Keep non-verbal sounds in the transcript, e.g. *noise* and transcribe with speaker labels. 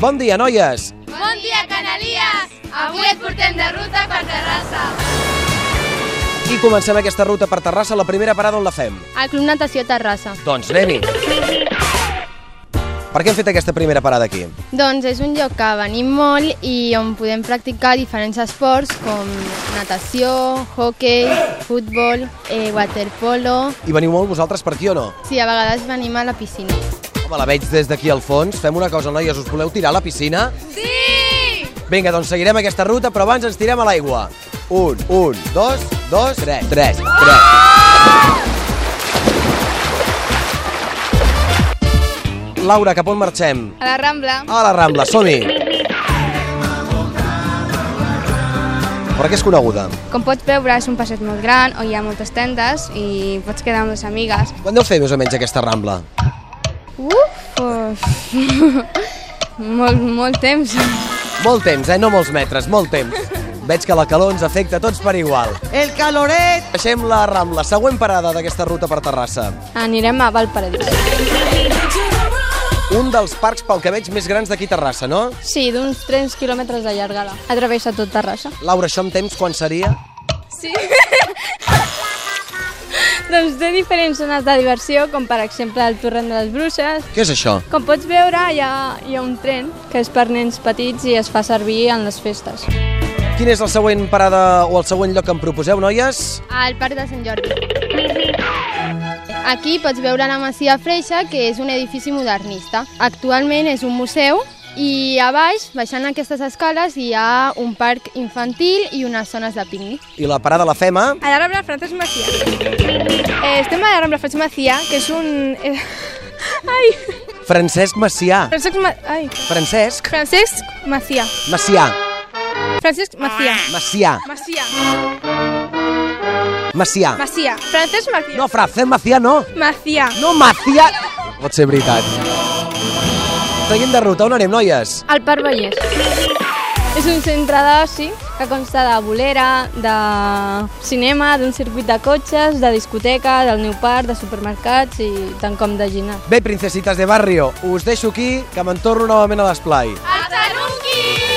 Speaker 1: Bon dia, noies!
Speaker 2: Bon dia, Canalies! Avui et portem de ruta per Terrassa.
Speaker 1: I comencem aquesta ruta per Terrassa, la primera parada on la fem?
Speaker 2: Al Club Natació Terrassa.
Speaker 1: Doncs anem-hi! Per què hem fet aquesta primera parada aquí?
Speaker 2: Doncs és un lloc que venim molt i on podem practicar diferents esports com natació, hockey, futbol, eh, waterpolo...
Speaker 1: I veniu molt vosaltres per aquí o no?
Speaker 2: Sí, a vegades venim a la piscina.
Speaker 1: Home, la veig des d'aquí al fons. Fem una cosa, noies, us voleu tirar a la piscina?
Speaker 2: Sí!
Speaker 1: Vinga, doncs seguirem aquesta ruta, però abans ens tirem a l'aigua. Un, un, dos, dos, tres, tres, tres. Laura, cap on marxem?
Speaker 2: A la Rambla.
Speaker 1: A la Rambla, som-hi! Per què és coneguda?
Speaker 3: Com pots veure, és un passeig molt gran on hi ha moltes tendes i pots quedar amb les amigues.
Speaker 1: Quan deu fer més o menys aquesta Rambla?
Speaker 3: Uf! Uf. *laughs* molt, molt temps.
Speaker 1: Molt temps, eh? No molts metres, molt temps. Veig que la calor ens afecta a tots per igual.
Speaker 4: El caloret!
Speaker 1: Baixem la Rambla, següent parada d'aquesta ruta per Terrassa.
Speaker 3: Anirem a Valparadís.
Speaker 1: Un dels parcs, pel que veig, més grans d'aquí a Terrassa, no?
Speaker 3: Sí, d'uns 3 quilòmetres de llargada. Atravessa tot Terrassa.
Speaker 1: Laura, això amb temps quan seria?
Speaker 3: Sí. doncs té diferents zones de diversió, com per exemple el torrent de les Bruixes.
Speaker 1: Què és això?
Speaker 3: Com pots veure, hi ha, hi ha un tren que és per nens petits i es fa servir en les festes.
Speaker 1: Quina és la següent parada o el següent lloc que em proposeu, noies?
Speaker 2: Al Parc de Sant Jordi. Aquí pots veure la Masia Freixa, que és un edifici modernista. Actualment és un museu i a baix, baixant aquestes escales, hi ha un parc infantil i unes zones de pícnic.
Speaker 1: I la parada la fem a...
Speaker 3: A la Rambla Francesc Macià. Eh, estem a la Rambla Francesc Macià, que és un... Eh, ai,
Speaker 1: Francesc Macià.
Speaker 3: Francesc, Ma... ai,
Speaker 1: Francesc
Speaker 3: Francesc Macià.
Speaker 1: Macià.
Speaker 3: Francesc Macià.
Speaker 1: Macià.
Speaker 3: Macià.
Speaker 1: Macià.
Speaker 3: Macià. Francesc Macià.
Speaker 1: No, Francesc Macià no.
Speaker 3: Macià.
Speaker 1: No, Macià... Pot ser veritat. Seguim de ruta, on anem, noies?
Speaker 3: El Parc Vallès. És un centre d'oci que consta de bolera, de cinema, d'un circuit de cotxes, de discoteca, del New Park, de supermercats i tant com de ginar.
Speaker 1: Bé, princesitas de barrio, us deixo aquí, que me'n torno novament a l'esplai.
Speaker 2: Hasta nunca!